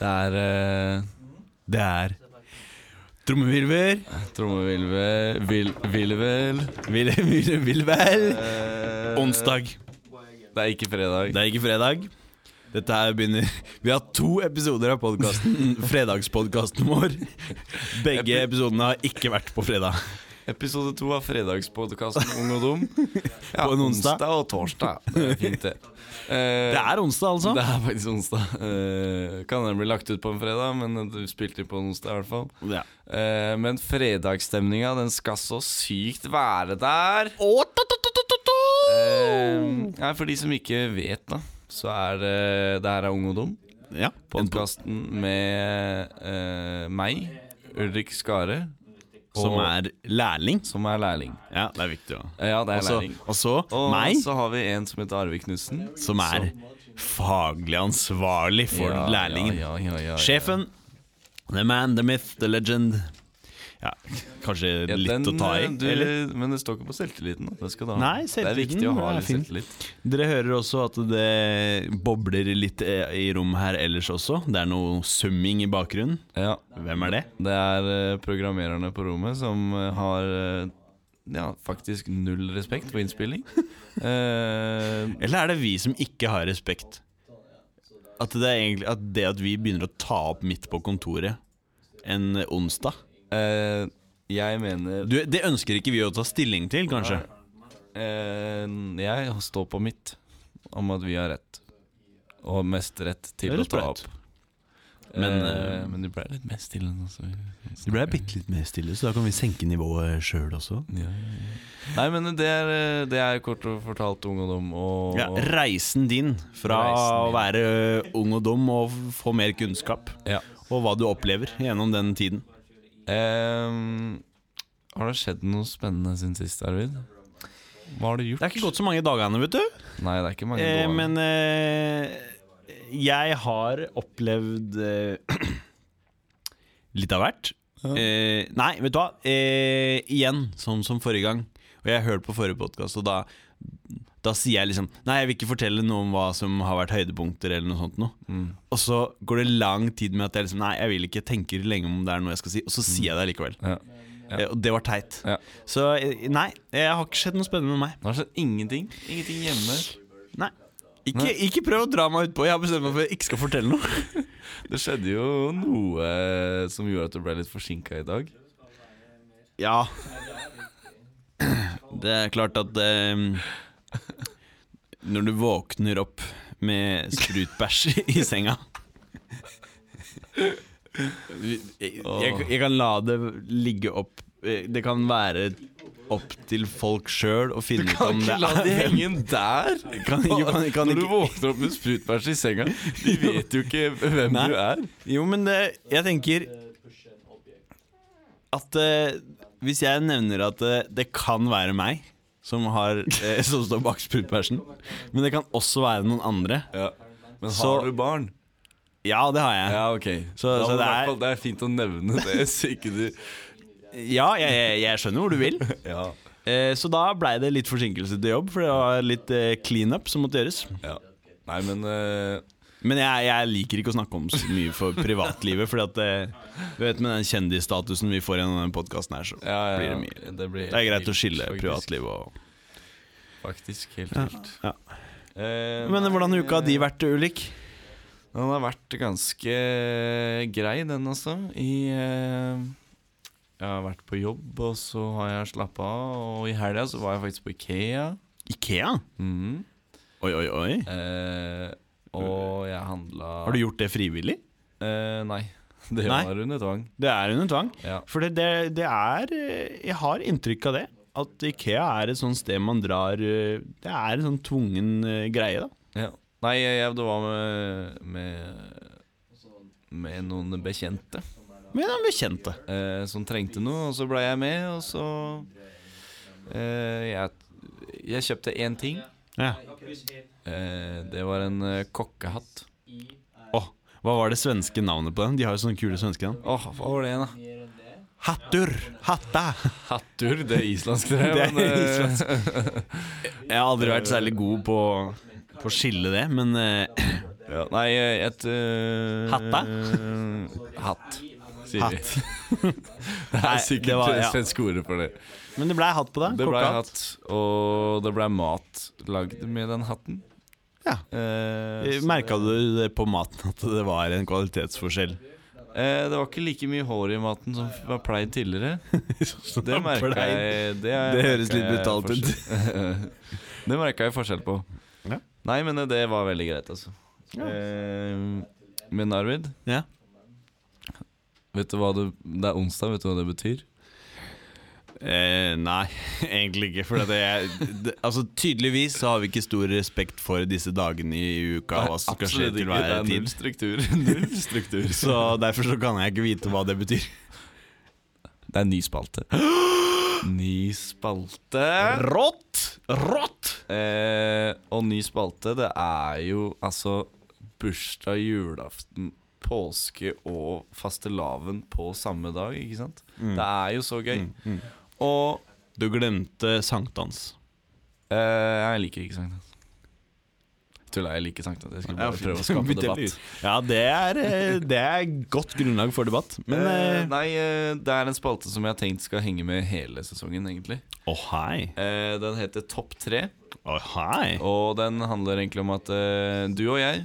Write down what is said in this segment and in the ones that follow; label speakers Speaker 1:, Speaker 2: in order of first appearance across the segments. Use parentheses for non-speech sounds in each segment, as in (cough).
Speaker 1: Det er eh,
Speaker 2: Det er trommevirvel.
Speaker 1: trommevilve vil, Vilvel
Speaker 2: Vil, vil, vil vel.
Speaker 1: eh,
Speaker 2: Onsdag.
Speaker 1: Det er ikke fredag.
Speaker 2: Det er ikke fredag. Dette her begynner Vi har to episoder av podkasten, fredagspodkasten vår. Begge episodene har ikke vært på fredag.
Speaker 1: Episode to av fredagspodkasten Ung og
Speaker 2: (laughs)
Speaker 1: dum. Ja,
Speaker 2: På en onsdag.
Speaker 1: og torsdag. Det er fint, det. Eh,
Speaker 2: (laughs) Det er onsdag, altså.
Speaker 1: det er faktisk onsdag. Eh, kan den bli lagt ut på en fredag, men du spilte inn på en onsdag i hvert fall.
Speaker 2: Ja.
Speaker 1: Eh, men fredagsstemninga, den skal så sykt være der. Eh, nei, for de som ikke vet, da, så er det Det her er Ung og dum.
Speaker 2: Ja.
Speaker 1: Podkasten med eh, meg, Ulrik Skare,
Speaker 2: Som er lærling.
Speaker 1: som er lærling.
Speaker 2: Ja, det er viktig å
Speaker 1: Eh, Ja, det er
Speaker 2: Også-
Speaker 1: lærling.
Speaker 2: Og så
Speaker 1: Og
Speaker 2: meg,
Speaker 1: så har vi en som heter Arve Knutsen.
Speaker 2: som er faglig ansvarlig for
Speaker 1: Ja,
Speaker 2: lærlingen.
Speaker 1: Ja, ja, ja, ja,
Speaker 2: Sjefen. The man, the myth, the legend. Ja, kanskje
Speaker 1: Ja,
Speaker 2: litt
Speaker 1: den,
Speaker 2: å ta i?
Speaker 1: eh, du,
Speaker 2: eller?
Speaker 1: Men det står ikke på selvtilliten. da. Det skal du ha.
Speaker 2: Nei,
Speaker 1: det er viktig
Speaker 2: selvtilliten
Speaker 1: å ha
Speaker 2: er
Speaker 1: litt
Speaker 2: fin.
Speaker 1: selvtillit.
Speaker 2: Dere hører også at det bobler litt eh, i rommet her ellers også. Det er noe summing i bakgrunnen.
Speaker 1: Ja.
Speaker 2: Hvem er det?
Speaker 1: Det er eh, programmererne på rommet som eh, har eh, ja, faktisk null respekt for
Speaker 2: (laughs)
Speaker 1: innspilling. Eh,
Speaker 2: Eller er det vi som ikke har respekt? At det, er egentlig, at, det at vi begynner å ta opp midt på kontoret en onsdag
Speaker 1: eh, jeg mener
Speaker 2: du, Det ønsker ikke vi å ta stilling til, kanskje?
Speaker 1: Eh, jeg står på mitt om at vi har rett. Og mest rett til å
Speaker 2: Høres
Speaker 1: ta
Speaker 2: bra
Speaker 1: opp.
Speaker 2: ut. Men,
Speaker 1: Eh,
Speaker 2: eh,
Speaker 1: men du ble litt mer stille nå. så vi-
Speaker 2: Det ble bitte litt mer stille, så da kan vi senke nivået sjøl også.
Speaker 1: Ja, ja, ja. Nei, men det er, eh, det er kort og fortalt ungdom og
Speaker 2: Ja, reisen din fra
Speaker 1: Reisen
Speaker 2: å være ø, ung og dum og f- få mer kunnskap,
Speaker 1: Ja.
Speaker 2: og hva du opplever gjennom den tiden.
Speaker 1: Ehm, Har det skjedd noe spennende siden sist, Arvid? Hva har du gjort?
Speaker 2: Det er ikke gått så mange dagene, vet du.
Speaker 1: Nei, det er ikke mange
Speaker 2: Eh,
Speaker 1: dager.
Speaker 2: men eh, jeg har opplevd eh, (clears throat) litt av hvert. Eh, nei, vet du hva? Eh, igjen, sånn som forrige gang. Og jeg hørte på forrige podkast, og da, da sier jeg liksom Nei, jeg vil ikke fortelle noe om hva som har vært høydepunkter, eller noe sånt noe.
Speaker 1: Mm.
Speaker 2: Og så går det lang tid med at jeg liksom Nei, jeg vil ikke tenke lenge om det er noe jeg skal si, og så sier jeg det likevel.
Speaker 1: Ja. Mm. Ja.
Speaker 2: Eh, Og det var teit.
Speaker 1: Ja.
Speaker 2: Så eh, nei, jeg har ikke skjedd noe spennende med meg.
Speaker 1: Det har skjedd ingenting. Ingenting hjemme.
Speaker 2: Nei. Ikke,
Speaker 1: Nei.
Speaker 2: ikke prøv å dra meg utpå. Jeg har bestemt meg for at jeg ikke skal fortelle noe.
Speaker 1: Det skjedde jo noe eh, som gjorde at du ble litt forsinka i dag.
Speaker 2: Ja. Det er klart at eh, Når du våkner opp med sprutbæsj (laughs) i senga jeg, jeg kan la det ligge opp eh, Det kan være opp til folk sjøl å finne ut om det er (laughs) hvem-
Speaker 1: igjen der!
Speaker 2: (laughs) Kan- jo, kan- kan
Speaker 1: Når du
Speaker 2: ikke-
Speaker 1: våkner opp med sprutbæsj i senga,
Speaker 2: (laughs)
Speaker 1: de vet jo ikke hvem
Speaker 2: Nei.
Speaker 1: du er.
Speaker 2: Jo, men det, jeg tenker at eh, hvis jeg nevner at eh, det kan være meg som, har, eh, som står bak sprutbæsjen, men det kan også være noen andre.
Speaker 1: Men har
Speaker 2: Så-
Speaker 1: du barn?
Speaker 2: Ja, det har jeg.
Speaker 1: Ja, ok.
Speaker 2: Så-
Speaker 1: Da
Speaker 2: så det
Speaker 1: må i hvert
Speaker 2: er-
Speaker 1: fall- det er fint å nevne det, (laughs) så ikke du
Speaker 2: Ja, jeg, jeg, jeg skjønner hvor du vil.
Speaker 1: Ja.
Speaker 2: Eh, så da blei det litt forsinkelse til jobb, for det var litt eh, cleanup som måtte gjøres.
Speaker 1: ja. Nei, men eh,
Speaker 2: Men jeg, jeg liker ikke å snakke om så mye for privatlivet, fordi at eh, Du vet med den kjendisstatusen vi får gjennom den podkasten her, så
Speaker 1: ja, ja,
Speaker 2: blir det mye.
Speaker 1: Det, blir
Speaker 2: Det er greit
Speaker 1: helt
Speaker 2: å skille
Speaker 1: vilt, faktisk.
Speaker 2: privatliv og
Speaker 1: Faktisk helt vilt.
Speaker 2: ja.
Speaker 1: Eh,
Speaker 2: Men
Speaker 1: nei,
Speaker 2: hvordan uka har de vært, Ulrik?
Speaker 1: Den har vært ganske grei, den altså. I eh, Jeg har vært på jobb, og så har jeg slappa av. Og i helga så var jeg faktisk på Ikea.
Speaker 2: Ikea? Mm.
Speaker 1: Mhm.
Speaker 2: Oi, oi, oi.
Speaker 1: Eh, og jeg handla
Speaker 2: Har du gjort det frivillig?
Speaker 1: Eh, nei. (laughs) Det
Speaker 2: Nei?
Speaker 1: var under tvang.
Speaker 2: Det er under tvang.
Speaker 1: Ja.
Speaker 2: For det, det, det er eh, Jeg har inntrykk av det. At Ikea er et sånt sted man drar eh, Det er en sånn tvungen eh, greie, da.
Speaker 1: ja. Nei, jeg, det var med, med med noen bekjente
Speaker 2: Men han blir kjent det.
Speaker 1: eh, som trengte noe, og så ble jeg med, og så eh, jeg, jeg kjøpte én ting.
Speaker 2: Ja.
Speaker 1: Eh, det var en eh, kokkehatt.
Speaker 2: Åh, hva var det svenske navnet på den? De har jo sånne kule svenske navn.
Speaker 1: Åh, hva var det igjen, da?
Speaker 2: Hattur! Hatta!
Speaker 1: Hattur, det er islandsk, det.
Speaker 2: (laughs) Det er
Speaker 1: men, eh,
Speaker 2: Jeg har aldri vært særlig god på, på å skille det, men eh,
Speaker 1: Ja, nei, et eh,
Speaker 2: Hatta?
Speaker 1: Hatt, sier vi.
Speaker 2: Hatt.
Speaker 1: (laughs) Det
Speaker 2: Nei,
Speaker 1: er sikkert
Speaker 2: det var- ja.
Speaker 1: svenske ordet for det.
Speaker 2: (laughs) Men det blei hatt på deg.
Speaker 1: Det ble
Speaker 2: kokkehatt.
Speaker 1: hatt, og det ble mat lagd med den hatten.
Speaker 2: Ja.
Speaker 1: Eh, så
Speaker 2: Merka du det på maten at det var en kvalitetsforskjell? (laughs)
Speaker 1: det- eh, det var ikke like mye hår i maten som var pleid tidligere. (laughs) Det merka jeg Det,
Speaker 2: Det høres litt brutalt ut. (laughs)
Speaker 1: ut. det merka jeg forskjell på.
Speaker 2: Ja.
Speaker 1: Nei, men eh, det var veldig greit, altså.
Speaker 2: Ja.
Speaker 1: Eh, men Arvid,
Speaker 2: Ja.
Speaker 1: vet du hva det, det er onsdag, vet du hva det betyr?
Speaker 2: Eh, nei, (laughs) egentlig ikke. For det er, det, altså, tydeligvis så har vi ikke stor respekt for disse dagene i uka. Og hva som skal skje
Speaker 1: Absolutt
Speaker 2: til
Speaker 1: ikke. Det
Speaker 2: hver
Speaker 1: er null
Speaker 2: tid
Speaker 1: struktur. (laughs) Null struktur.
Speaker 2: (laughs) Så derfor så kan jeg ikke vite hva det
Speaker 1: (laughs)
Speaker 2: betyr.
Speaker 1: Det er en ny spalte. (gasps) Ny spalte.
Speaker 2: Rått! Rått!
Speaker 1: Eh, og ny spalte, det er jo altså bursdag, julaften, påske og fastelavn på samme dag, ikke sant? Det er jo så
Speaker 2: Mm.
Speaker 1: gøy. Og
Speaker 2: Du glemte sankthans.
Speaker 1: eh, jeg liker ikke sankthans. Tulla, jeg liker sankthans. Jeg skulle bare prøve å (laughs)
Speaker 2: (laughs)
Speaker 1: skape debatt.
Speaker 2: Ja, det er, eh, det er godt grunnlag for debatt. Men Å,
Speaker 1: eh, nei, eh, det er en spalte som jeg har tenkt skal henge med hele sesongen, egentlig.
Speaker 2: hei.
Speaker 1: Eh, den heter Topp tre.
Speaker 2: Å, hei.
Speaker 1: Og den handler egentlig om at eh, du og jeg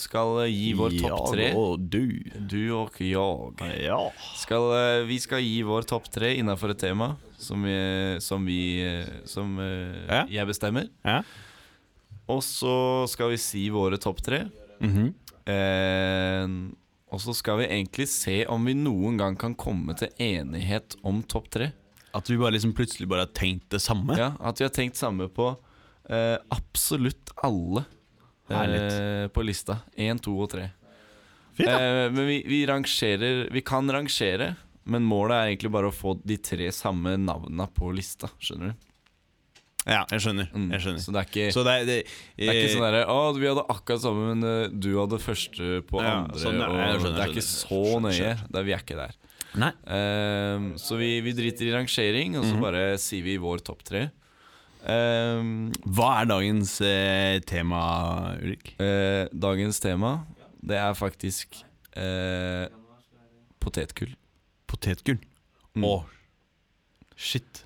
Speaker 1: skal eh, gi vår topp tre.
Speaker 2: Jeg og du.
Speaker 1: Du og jeg.
Speaker 2: Ja.
Speaker 1: Skal, eh, vi skal gi vår topp tre innafor et tema som, vi- som vi eh, Som eh,
Speaker 2: Ja.
Speaker 1: jeg bestemmer.
Speaker 2: ja.
Speaker 1: Og så skal vi si våre topp tre.
Speaker 2: Mhm.
Speaker 1: Eh, og så skal vi egentlig se om vi noen gang kan komme til enighet om topp tre.
Speaker 2: At vi bare liksom plutselig bare har tenkt det samme.
Speaker 1: Ja, at vi har tenkt samme på eh, absolutt alle eh,
Speaker 2: Herlig.
Speaker 1: på lista. Én, to og tre.
Speaker 2: Fint, da.
Speaker 1: Eh, men vi, vi rangerer Vi kan rangere, men målet er egentlig bare å få de tre samme navna på lista. Skjønner du?
Speaker 2: Ja, jeg skjønner.
Speaker 1: Mm.
Speaker 2: Jeg skjønner.
Speaker 1: Så det er ikke,
Speaker 2: Så det er, det,
Speaker 1: det er ikke sånn derre Å, vi hadde akkurat samme, men eh, du hadde første på
Speaker 2: Ja,
Speaker 1: andre.
Speaker 2: sånn, ja,
Speaker 1: og
Speaker 2: jeg skjønner,
Speaker 1: det er ikke
Speaker 2: skjønner,
Speaker 1: så
Speaker 2: skjønner,
Speaker 1: nøye.
Speaker 2: skjønner.
Speaker 1: Det, vi er ikke der.
Speaker 2: Nei.
Speaker 1: Ehm, så vi, vi driter i rangering, og så
Speaker 2: Mhm.
Speaker 1: bare sier vi vår topp tre. Ehm,
Speaker 2: Hva er dagens eh, tema, Ulrik?
Speaker 1: Eh, dagens tema, det er faktisk eh, potetgull.
Speaker 2: Potetgull. Å,
Speaker 1: Mm.
Speaker 2: shit.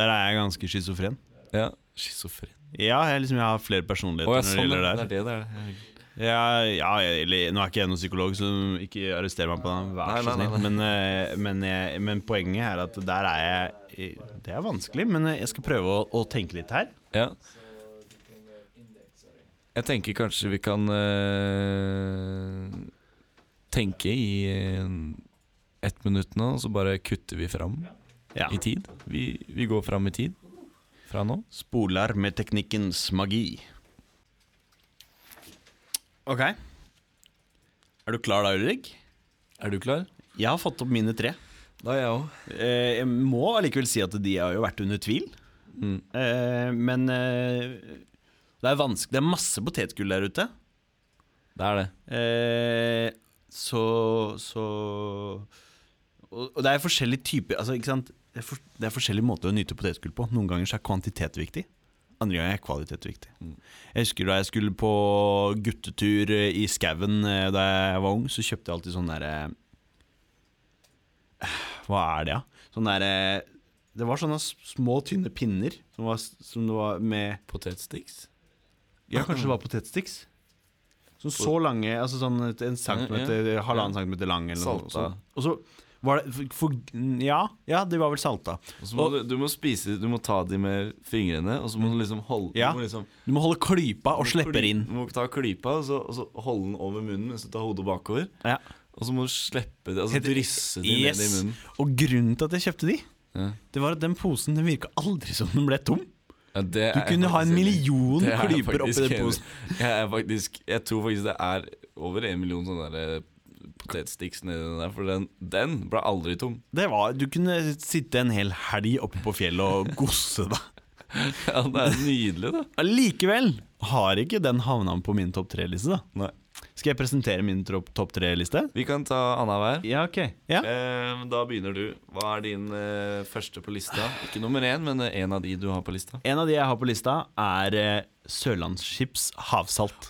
Speaker 2: Der er jeg ganske schizofren.
Speaker 1: Ja, Schizofren.
Speaker 2: Ja, jeg, liksom, jeg har flere personligheter
Speaker 1: Å, ja,
Speaker 2: når det
Speaker 1: sånn,
Speaker 2: gjelder det
Speaker 1: det
Speaker 2: der.
Speaker 1: er det det er.
Speaker 2: Ja, ja, eller, nå er ikke jeg noen psykolog, så ikke arrester meg på det. Vær
Speaker 1: Nei,
Speaker 2: så
Speaker 1: nei,
Speaker 2: snill. Men, eh, men, jeg- men poenget er at der er jeg Det er vanskelig, men eh, jeg skal prøve å, å tenke litt her.
Speaker 1: Ja. Jeg tenker kanskje vi kan eh, tenke i eh, ett minutt nå, og så bare kutter vi fram
Speaker 2: Ja.
Speaker 1: i tid. Vi, vi går fram i tid fra nå.
Speaker 2: Spoler med teknikkens magi. Ok. Er du klar da, Ulrik?
Speaker 1: Er du klar?
Speaker 2: Jeg har fått opp mine tre.
Speaker 1: Da er jeg òg.
Speaker 2: Eh, Jeg må allikevel si at de har jo vært under tvil.
Speaker 1: Mm.
Speaker 2: Eh, Men eh, det er vanskelig. Det er masse potetgull der ute.
Speaker 1: Det er det.
Speaker 2: Eh, Så, så Og og det er forskjellige typer altså, ikke sant? Det er, for, det er forskjellige måter å nyte potetgull på. Noen ganger så er kvantitet viktig. Andre ganger er kvalitet viktig.
Speaker 1: Mm.
Speaker 2: Jeg husker da jeg skulle på guttetur eh, i skauen eh, da jeg var ung, så kjøpte jeg alltid sånn derre (sighs) Hva er det, da? Sånn derre Det var sånne s- små, tynne pinner som, var, s- som det var med
Speaker 1: Potetsticks?
Speaker 2: ja, kanskje det var potetsticks. Så, så lange, altså sånn et- en centimeter, halvannen centimeter lang. Eller noe
Speaker 1: Salta.
Speaker 2: sånt. Og så var det for, for, Ja, ja, de var vel salta.
Speaker 1: Og så må du, du må spise, du må ta de med fingrene, og så må du liksom holde
Speaker 2: Ja.
Speaker 1: du må liksom,
Speaker 2: Du må holde klypa og
Speaker 1: kly-
Speaker 2: slippe inn.
Speaker 1: Du må ta klypa, og så, og så holde den over munnen mens du tar hodet bakover.
Speaker 2: Ja.
Speaker 1: Og så må du slippe det, altså
Speaker 2: Helt-
Speaker 1: drysse det ned i
Speaker 2: Yes.
Speaker 1: munnen.
Speaker 2: Og grunnen til at jeg kjøpte de,
Speaker 1: Ja.
Speaker 2: det var at den posen den virka aldri som den ble tom.
Speaker 1: Ja, det
Speaker 2: Du
Speaker 1: er
Speaker 2: kunne ha en
Speaker 1: faktisk enig.
Speaker 2: million
Speaker 1: Det er jeg
Speaker 2: klyper oppi
Speaker 1: faktisk
Speaker 2: den
Speaker 1: enig.
Speaker 2: posen.
Speaker 1: (laughs) Jeg, er faktisk, jeg tror faktisk det er over en million sånne der eh, potetsticks nedi den der, for den, den ble aldri tom. (laughs)
Speaker 2: Det var, du kunne sitte en hel helg oppe på fjellet og gosse deg.
Speaker 1: Ja, det er
Speaker 2: (laughs)
Speaker 1: nydelig, da.
Speaker 2: Allikevel har ikke den havna på min topp tre-liste, da.
Speaker 1: Nei.
Speaker 2: Skal jeg presentere min trop- topp tre-liste?
Speaker 1: Vi kan ta annenhver.
Speaker 2: Ja, ok. Ja.
Speaker 1: Eh, da begynner du. Hva er din eh, første på lista? Ikke nummer én, men eh, en av de du har på lista.
Speaker 2: En av de jeg har på lista, er eh, Sørlandschips havsalt.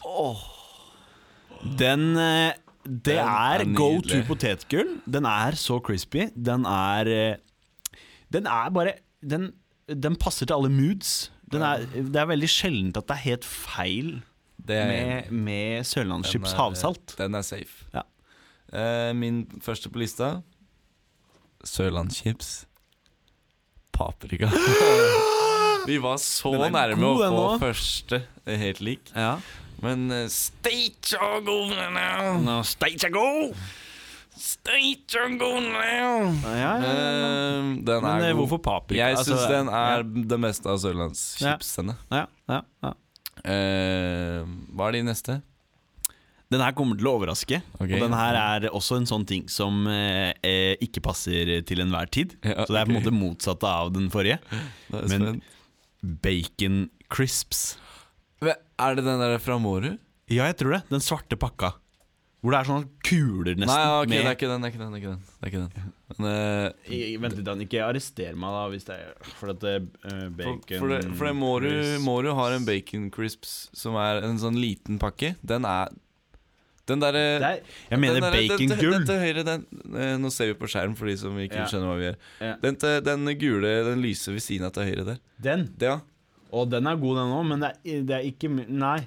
Speaker 2: Den eh, Det
Speaker 1: Den
Speaker 2: er,
Speaker 1: er
Speaker 2: go to
Speaker 1: nydelig.
Speaker 2: potetgull. Den er så crispy. Den er eh, Den er bare Den, den passer til alle moods. Den er, det er veldig sjeldent at det er helt feil
Speaker 1: Det er
Speaker 2: med, med Sørlandschips
Speaker 1: Den er-
Speaker 2: havsalt.
Speaker 1: Den er safe.
Speaker 2: Ja.
Speaker 1: Eh, min første på lista Sørlandschips.
Speaker 2: (laughs)
Speaker 1: Paprika. Vi var så
Speaker 2: Den er
Speaker 1: nærme
Speaker 2: god,
Speaker 1: å
Speaker 2: den
Speaker 1: få
Speaker 2: også.
Speaker 1: første eh, helt lik,
Speaker 2: Ja.
Speaker 1: men uh, State your goal now.
Speaker 2: No, stage I go!
Speaker 1: State your goal now.
Speaker 2: Ja, ja, ja.
Speaker 1: Eh, den er
Speaker 2: Men eh,
Speaker 1: god.
Speaker 2: hvorfor paprika?
Speaker 1: Jeg
Speaker 2: Altså,
Speaker 1: syns den er det meste av sørlandschipsene.
Speaker 2: ja, ja, ja.
Speaker 1: Eh, hva er de neste?
Speaker 2: Den her kommer til å overraske.
Speaker 1: Ok.
Speaker 2: Og den her er også en sånn ting som eh, eh, ikke passer til enhver tid.
Speaker 1: Ja,
Speaker 2: Så det er på en
Speaker 1: ok.
Speaker 2: måte motsatt av den forrige.
Speaker 1: Da er jeg
Speaker 2: Men-
Speaker 1: spent.
Speaker 2: Bacon crisps.
Speaker 1: Men er det den der fra Mårud?
Speaker 2: Ja, jeg tror det. Den svarte pakka. Hvor det er sånne kuler nesten.
Speaker 1: Nei, ok, det er
Speaker 2: med-
Speaker 1: ikke den. Det er ikke den, det er ikke den, det er ikke den. Men, eh,
Speaker 2: I- Vent litt, Dan. Ikke arrester meg, da, hvis det er For at det, eh,
Speaker 1: for,
Speaker 2: bacon
Speaker 1: for det, for det Mårud
Speaker 2: crisps-
Speaker 1: Mårud har en bacon crisps som er en sånn liten pakke. Den er Den
Speaker 2: Det er-
Speaker 1: derre
Speaker 2: Jeg mener
Speaker 1: Den
Speaker 2: bacongull.
Speaker 1: til høyre, den eh, Nå ser vi på skjerm for de som ikke
Speaker 2: Ja.
Speaker 1: skjønner hva vi gjør.
Speaker 2: Ja.
Speaker 1: Den, til, den gule, den lyse ved siden av til høyre der.
Speaker 2: Den.
Speaker 1: Det, ja.
Speaker 2: Og den er god, den òg, men det er, det er ikke mi- Nei.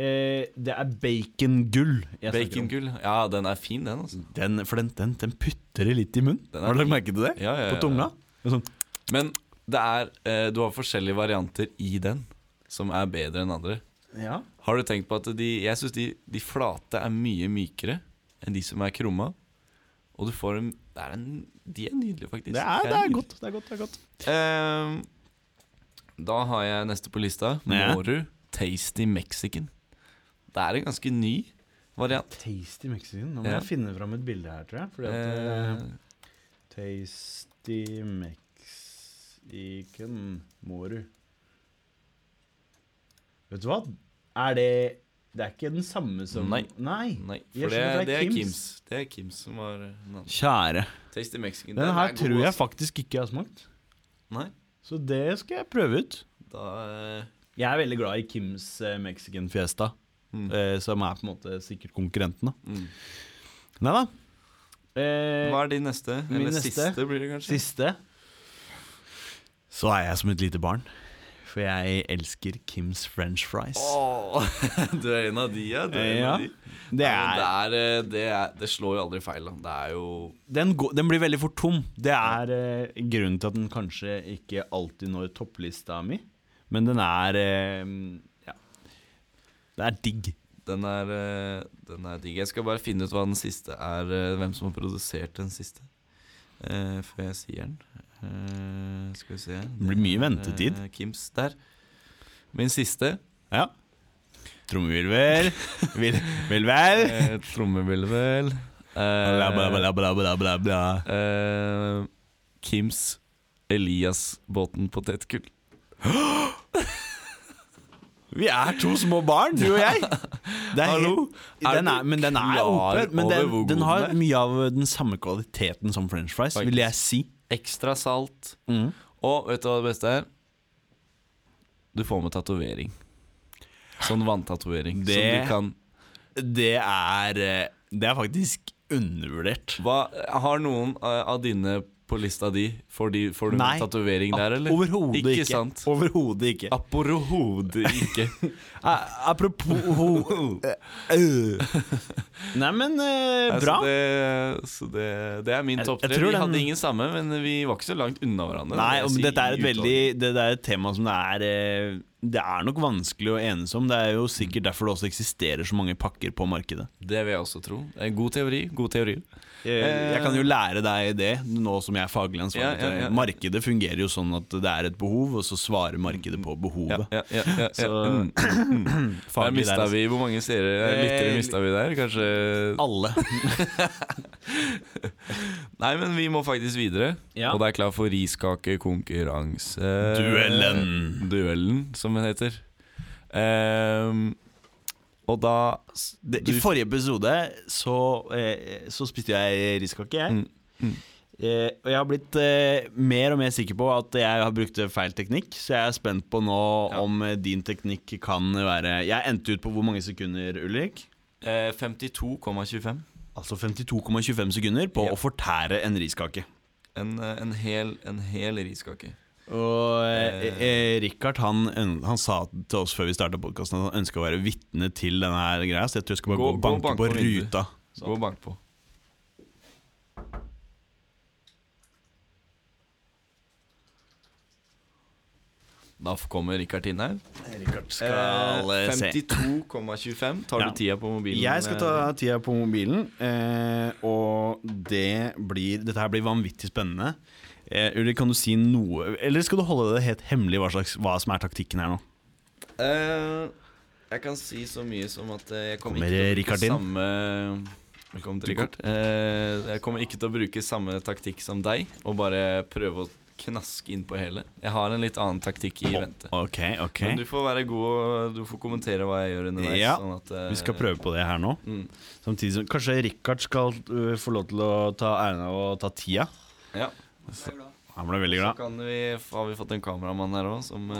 Speaker 2: Eh, det er bacongull. jeg snakker om.
Speaker 1: Bacongull. Ja, den er fin, den, altså.
Speaker 2: Den, for den, den, den putter det litt i munnen.
Speaker 1: Den er-
Speaker 2: Har du lagt merke til det?
Speaker 1: Ja, ja, ja,
Speaker 2: På tunga. Sånn.
Speaker 1: Men det er eh, Du har forskjellige varianter i den som er bedre enn andre.
Speaker 2: Ja.
Speaker 1: Har du tenkt på at de Jeg syns de, de flate er mye mykere enn de som er krumma. Og du får dem det er en, De er nydelige, faktisk.
Speaker 2: Det er, det er godt. Det er godt, det er godt.
Speaker 1: Ehm, Eh, da har jeg neste på lista.
Speaker 2: Ja.
Speaker 1: Moru Tasty Mexican. Det er en ganske ny variant.
Speaker 2: Tasty Mexican. Nå må
Speaker 1: Ja.
Speaker 2: jeg finne fram et bilde her, tror jeg. Fordi at,
Speaker 1: Eh,
Speaker 2: eh, tasty Mexican Moru. Vet du hva? Er det Det er ikke den samme som
Speaker 1: Nei. nei,
Speaker 2: jeg
Speaker 1: for det,
Speaker 2: skjønner,
Speaker 1: det
Speaker 2: det er
Speaker 1: er
Speaker 2: Kims.
Speaker 1: Kims. Det er Kims som var eh, den andre.
Speaker 2: Kjære.
Speaker 1: Tasty Mexican.
Speaker 2: Den her
Speaker 1: er god,
Speaker 2: tror jeg
Speaker 1: ass.
Speaker 2: faktisk ikke jeg har smakt.
Speaker 1: Nei,
Speaker 2: Så det skal jeg prøve ut.
Speaker 1: da eh,
Speaker 2: Jeg er veldig glad i Kims eh, Mexican Fiesta,
Speaker 1: Mm.
Speaker 2: eh, som er på en måte sikkert konkurrenten. da.
Speaker 1: mm.
Speaker 2: Nei da.
Speaker 1: Hva er de neste?
Speaker 2: min
Speaker 1: Eller
Speaker 2: neste.
Speaker 1: siste, blir det kanskje?
Speaker 2: siste Så er jeg som et lite barn, for jeg elsker Kims french fries.
Speaker 1: Åh, (laughs) du er en av de, ja. Du er en
Speaker 2: Ja,
Speaker 1: av de.
Speaker 2: det er,
Speaker 1: Nei, men det, er, eh, det, er, det slår jo aldri feil. Da. Det er jo
Speaker 2: den, går, den blir veldig fort tom. Det er eh, grunnen til at den kanskje ikke alltid når topplista mi, men den er eh, Ja. Det er digg.
Speaker 1: den er, eh, den er digg. Jeg skal bare finne ut hva den siste er. eh, Hvem som har produsert den siste. eh, før jeg sier den. Eh, skal vi se
Speaker 2: Det blir mye ventetid.
Speaker 1: Eh, Kims der. Min siste.
Speaker 2: Ja. Trommevirvel. Vil- Vilvel.
Speaker 1: (laughs) Uh, Trommevirvel.
Speaker 2: Bla, bla,
Speaker 1: Uh,
Speaker 2: bla, bla, bla, bla, bla.
Speaker 1: uh, Kims Elias-båten potetgull.
Speaker 2: Vi er to små barn, du og
Speaker 1: (laughs)
Speaker 2: jeg. Det er
Speaker 1: Hallo?
Speaker 2: Helt,
Speaker 1: Er
Speaker 2: den er,
Speaker 1: du
Speaker 2: men den er
Speaker 1: klar
Speaker 2: oppe. Men den,
Speaker 1: over hvor god
Speaker 2: den har
Speaker 1: den er?
Speaker 2: mye av den samme kvaliteten som french fries,
Speaker 1: Faktisk.
Speaker 2: vil jeg si.
Speaker 1: Ekstra salt. Og vet du hva det beste er? Du får med tatovering. Sånn vanntatovering. Som
Speaker 2: Det-
Speaker 1: du kan
Speaker 2: Det er eh, Det er faktisk undervurdert.
Speaker 1: hva, Har noen eh, av dine på lista di Får, de, får du
Speaker 2: Nei.
Speaker 1: med tatovering der, eller?
Speaker 2: Overhodet ikke.
Speaker 1: Ikke sant?
Speaker 2: Overhodet ikke.
Speaker 1: Aporohodet ikke.
Speaker 2: (laughs) A- Apropos
Speaker 1: (laughs)
Speaker 2: ho- Eh, Nei, men eh,
Speaker 1: Altså,
Speaker 2: bra.
Speaker 1: det, så det, det er min
Speaker 2: Jeg-
Speaker 1: topp
Speaker 2: jeg
Speaker 1: tre.
Speaker 2: tror
Speaker 1: Vi
Speaker 2: den-
Speaker 1: hadde ingen samme, men vi var ikke så langt unna hverandre.
Speaker 2: Nei,
Speaker 1: det
Speaker 2: og
Speaker 1: vil jeg
Speaker 2: dette er
Speaker 1: si,
Speaker 2: et
Speaker 1: i
Speaker 2: veldig Det det er et tema som det er eh, Det er nok vanskelig å enes om. Det er jo
Speaker 1: Mm.
Speaker 2: sikkert derfor det også eksisterer så mange pakker på markedet.
Speaker 1: utvalg. Det vil jeg også tro. Det er en god teori. God teori.
Speaker 2: Eh, Jeg kan jo lære deg det, nå som jeg er faglig ansvarlig.
Speaker 1: Ja, ja, ja.
Speaker 2: Markedet fungerer jo sånn at det er et behov, og så svarer markedet på behovet.
Speaker 1: Ja, ja, ja, ja.
Speaker 2: Så (clears throat)
Speaker 1: Mm. Der
Speaker 2: Faglig
Speaker 1: mista
Speaker 2: der, altså.
Speaker 1: vi Hvor mange seere eh, lyttere
Speaker 2: Eh,
Speaker 1: mista vi der? Kanskje
Speaker 2: (laughs) Alle.
Speaker 1: Nei, men vi må faktisk videre.
Speaker 2: Ja.
Speaker 1: Og det er klar for riskakekonkurranse...
Speaker 2: Duellen.
Speaker 1: Duellen, som den heter. Ehm, og da s-
Speaker 2: Det, I
Speaker 1: du-
Speaker 2: forrige episode så, eh, så spiste jeg riskake, jeg.
Speaker 1: Mm, mm.
Speaker 2: Eh, og jeg har blitt eh, mer og mer sikker på at jeg har brukt feil teknikk, så jeg er spent på nå
Speaker 1: Ja.
Speaker 2: om eh, din teknikk kan være Jeg endte ut på hvor mange sekunder, Ulrik?
Speaker 1: Eh, 52,25.
Speaker 2: Altså 52,25 sekunder på
Speaker 1: Ja.
Speaker 2: å fortære en riskake.
Speaker 1: En, eh, en hel, en hel riskake.
Speaker 2: Og eh, eh, Richard han, øn- han sa til oss før vi starta podkasten at han ønska å være vitne til denne her greia, så jeg tror jeg skal bare gå,
Speaker 1: Gå- gå
Speaker 2: og banke
Speaker 1: bank
Speaker 2: på,
Speaker 1: på vinduet.
Speaker 2: ruta.
Speaker 1: Så gå og bank på. Da f- kommer Richard inn her.
Speaker 2: Richard
Speaker 1: Eh, 52,25. Tar
Speaker 2: Ja.
Speaker 1: du tida på mobilen?
Speaker 2: Jeg skal ta
Speaker 1: eh,
Speaker 2: tida på mobilen, eh, og det blir Dette her blir vanvittig spennende. Eh, Ulrik, kan du si noe Eller skal du holde det helt hemmelig hva, slags, hva som er taktikken her nå?
Speaker 1: Eh, jeg kan si så mye som at eh, jeg kommer
Speaker 2: Kommer
Speaker 1: ikke til å bruke
Speaker 2: Richard inn?
Speaker 1: samme Velkommen til
Speaker 2: Du kom-
Speaker 1: Richard. Eh, jeg kommer ikke til å bruke samme taktikk som deg, og bare prøve å knaske inn på hele. Jeg har en litt annen taktikk i vente.
Speaker 2: Ok, ok
Speaker 1: Men du får være god, og du får kommentere hva jeg gjør underveis.
Speaker 2: Ja,
Speaker 1: sånn at, eh,
Speaker 2: Vi skal prøve på det her nå.
Speaker 1: Mm.
Speaker 2: Samtidig som Kanskje Richard skal øh, få lov til å ta æren av å ta tida.
Speaker 1: Ja.
Speaker 2: Han ble veldig
Speaker 1: Så
Speaker 2: glad.
Speaker 1: kan vi, har vi fått en kameramann her òg, som eh,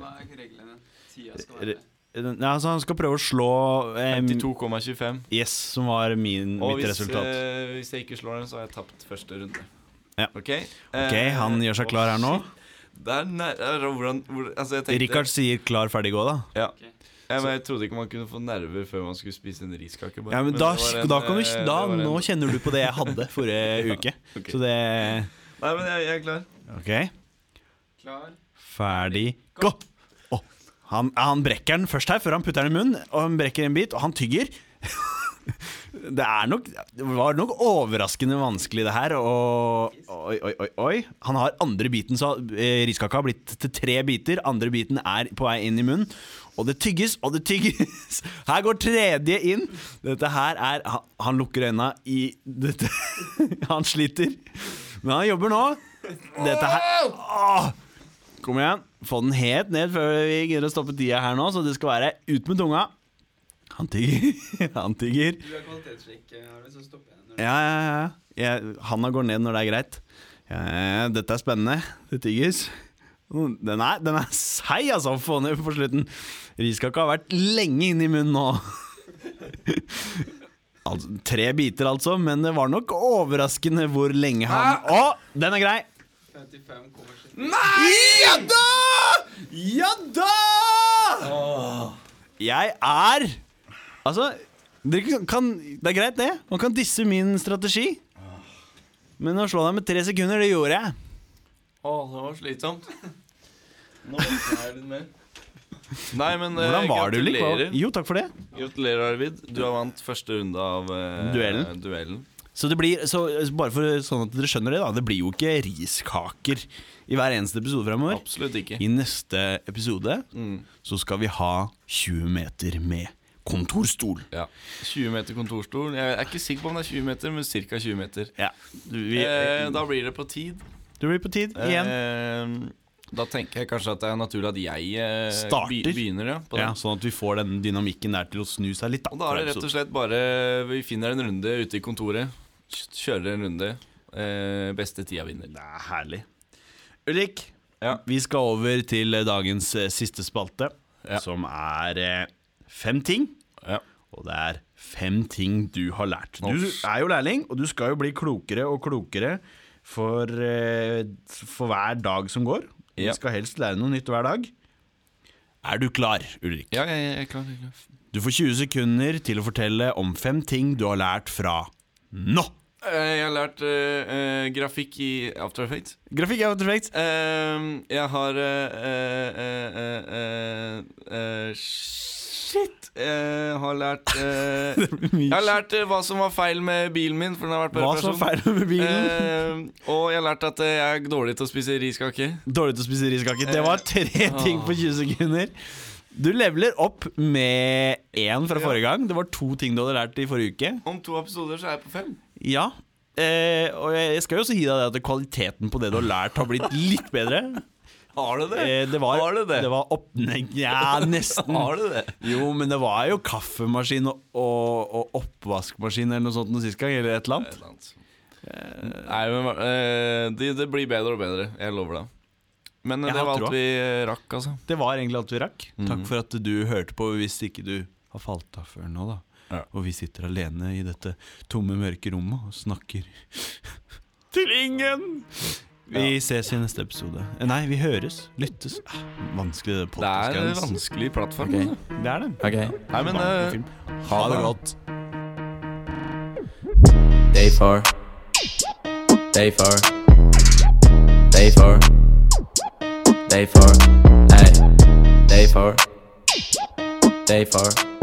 Speaker 3: Hva er reglene? Tida skal
Speaker 2: Re-
Speaker 3: være
Speaker 2: Nei, altså, han skal prøve å slå eh,
Speaker 1: 52,25.
Speaker 2: Yes, som var min,
Speaker 1: Og
Speaker 2: mitt
Speaker 1: hvis,
Speaker 2: resultat.
Speaker 1: eh, hvis jeg ikke slår den, så har jeg tapt første runde.
Speaker 2: Ja.
Speaker 1: Ok, Eh,
Speaker 2: Ok, Han gjør seg klar her nå.
Speaker 1: Det er nær, er, hvordan, hvor, altså jeg tenkte,
Speaker 2: Richard sier 'klar, ferdig, gå', da.
Speaker 1: ja.
Speaker 3: Ok.
Speaker 1: jeg, men jeg trodde ikke man kunne få nerver før man skulle spise en riskake. bare.
Speaker 2: Ja, men
Speaker 1: Men
Speaker 2: da,
Speaker 1: det var en,
Speaker 2: da kan du, da,
Speaker 1: eh, det var en-
Speaker 2: nå kjenner du på det jeg hadde forrige
Speaker 1: (laughs) Ja,
Speaker 2: uke.
Speaker 1: ok.
Speaker 2: Så det
Speaker 1: Nei, men jeg, jeg er klar.
Speaker 2: Ok.
Speaker 3: klar.
Speaker 2: Ferdig, gå! Å, han, han brekker den først her, før han putter den i munnen. Og han brekker en bit, og han tygger. (laughs) Det, er nok, det var nok overraskende vanskelig, det her. Og oi, oi, oi. oi Han har andre biten, så eh, riskaka har blitt til tre biter. Andre biten er på vei inn i munnen. Og det tygges, og det tygges. (laughs) Her går tredje inn. Dette her er Han, han lukker øynene i (laughs) dette. Han sliter. Men han jobber nå. Dette her Åh! Kom igjen. Få den helt ned før vi gidder å stoppe tida her nå, så det skal være ut med tunga. Han tygger. (laughs) Han tygger.
Speaker 3: Du er kvalitetssjekk, Arve, så stopper jeg når du
Speaker 2: Ja, ja, ja. Jeg, handa går ned når det er greit. Ja, ja, dette er spennende. Det tygges. Den er, den er seig, altså, å få ned på slutten. Riskaka har vært lenge inni munnen nå. (laughs) Altså, tre biter, altså, men det var nok overraskende hvor lenge han Å, den er grei!
Speaker 3: 55,7.
Speaker 2: Nei! Ja da! Ja da! Jeg er Altså, dere kan, det er greit, det. Man kan disse min strategi. Men å slå deg med tre sekunder, det gjorde jeg.
Speaker 1: Å, det var slitsomt. Nå er det mer. Nei, men eh,
Speaker 2: Hvordan var du, Ulrik?
Speaker 1: gratulerer.
Speaker 2: Hva- Jo, takk for det.
Speaker 1: Gratulerer, Arvid. Du har vant første runde av eh,
Speaker 2: Duellen.
Speaker 1: duellen.
Speaker 2: Så det blir, så, bare for sånn at dere skjønner det, da. Det blir jo ikke riskaker i hver eneste episode fremover.
Speaker 1: Absolutt ikke.
Speaker 2: I neste episode
Speaker 1: Mm.
Speaker 2: så skal vi ha 20 meter med kontorstol.
Speaker 1: Ja. 20 meter kontorstol. Jeg er ikke sikker på om det er 20 meter, men ca. 20 meter.
Speaker 2: Ja. Vi,
Speaker 1: Eh, da blir det på tid.
Speaker 2: det blir på tid igjen.
Speaker 1: Eh, da tenker jeg kanskje at det er naturlig at jeg eh,
Speaker 2: Starter.
Speaker 1: be- begynner. Ja, på
Speaker 2: ja,
Speaker 1: den.
Speaker 2: sånn at vi får den dynamikken der til å snu seg litt.
Speaker 1: Og da er det rett og slett bare Vi finner en runde ute i kontoret. kj- Kjører en runde. Eh, beste tida vinner.
Speaker 2: Det er herlig. Ulrik,
Speaker 1: Ja.
Speaker 2: vi skal over til eh, dagens eh, siste spalte,
Speaker 1: Ja.
Speaker 2: som er eh, fem ting.
Speaker 1: Ja.
Speaker 2: Og det er fem ting du har lært. Du
Speaker 1: Ops.
Speaker 2: er jo lærling, og du skal jo bli klokere og klokere for, eh, for hver dag som går.
Speaker 1: Ja.
Speaker 2: Vi skal helst lære noe nytt hver dag. Er du klar, Ulrik?
Speaker 1: Ja, jeg, jeg er klar. Jeg er klar.
Speaker 2: Du får 20 sekunder til å fortelle om fem ting du har lært fra nå.
Speaker 1: Eh, jeg har lært eh, eh, grafikk i After Effects.
Speaker 2: Grafikk er perfekt.
Speaker 1: Ehm, jeg har eh, eh, eh, eh, eh, Shit! Jeg har lært eh,
Speaker 2: (laughs)
Speaker 1: Jeg har lært eh, hva som var feil med bilen min, for den har vært på sånn,
Speaker 2: Hva som
Speaker 1: reparasjon.
Speaker 2: er feil med bilen?
Speaker 1: Ehm, og jeg har lært at eh, jeg er dårlig til å spise riskake.
Speaker 2: Dårlig til å spise riskake. Det var tre
Speaker 1: Eh,
Speaker 2: (laughs) ting på 20 sekunder. Du leveler opp med én fra forrige gang. Det var to ting du hadde lært i forrige uke.
Speaker 1: Om to episoder så er jeg på fem.
Speaker 2: Ja. Eh, og jeg skal jo også gi deg det at kvaliteten på det du har lært, har blitt litt bedre.
Speaker 1: Har du det?
Speaker 2: Eh, det var,
Speaker 1: Har du det?
Speaker 2: det var opp... Nei, ja, nesten.
Speaker 1: Har du det?
Speaker 2: Jo, men det var jo kaffemaskin og, og, og oppvaskmaskin eller noe sånt noe sist gang. Eller et eller annet.
Speaker 1: Nei, men eh, det, det blir bedre og bedre. Jeg lover det. Men eh,
Speaker 2: Jeg
Speaker 1: det
Speaker 2: har
Speaker 1: var
Speaker 2: troa.
Speaker 1: alt vi eh, rakk, altså.
Speaker 2: Det var egentlig alt vi rakk. Takk
Speaker 1: Mhm.
Speaker 2: for at du hørte på, hvis ikke du har falt av før nå, da.
Speaker 1: Ja.
Speaker 2: Og vi sitter alene i dette tomme, mørke rommet og snakker (laughs) til ingen! Vi ses i neste episode. Eh, Nei, vi høres. Lyttes. Ah, Vanskelig det
Speaker 1: Det er en
Speaker 2: podcast-greiene.
Speaker 1: vanskelig plattform.
Speaker 2: Ok.
Speaker 1: altså.
Speaker 2: Det er det.
Speaker 4: Okay.
Speaker 1: Nei, men eh,
Speaker 2: Film.
Speaker 1: ha det godt.
Speaker 4: Day four. Day four. Day four. Day four. Hey. Day four. Day four.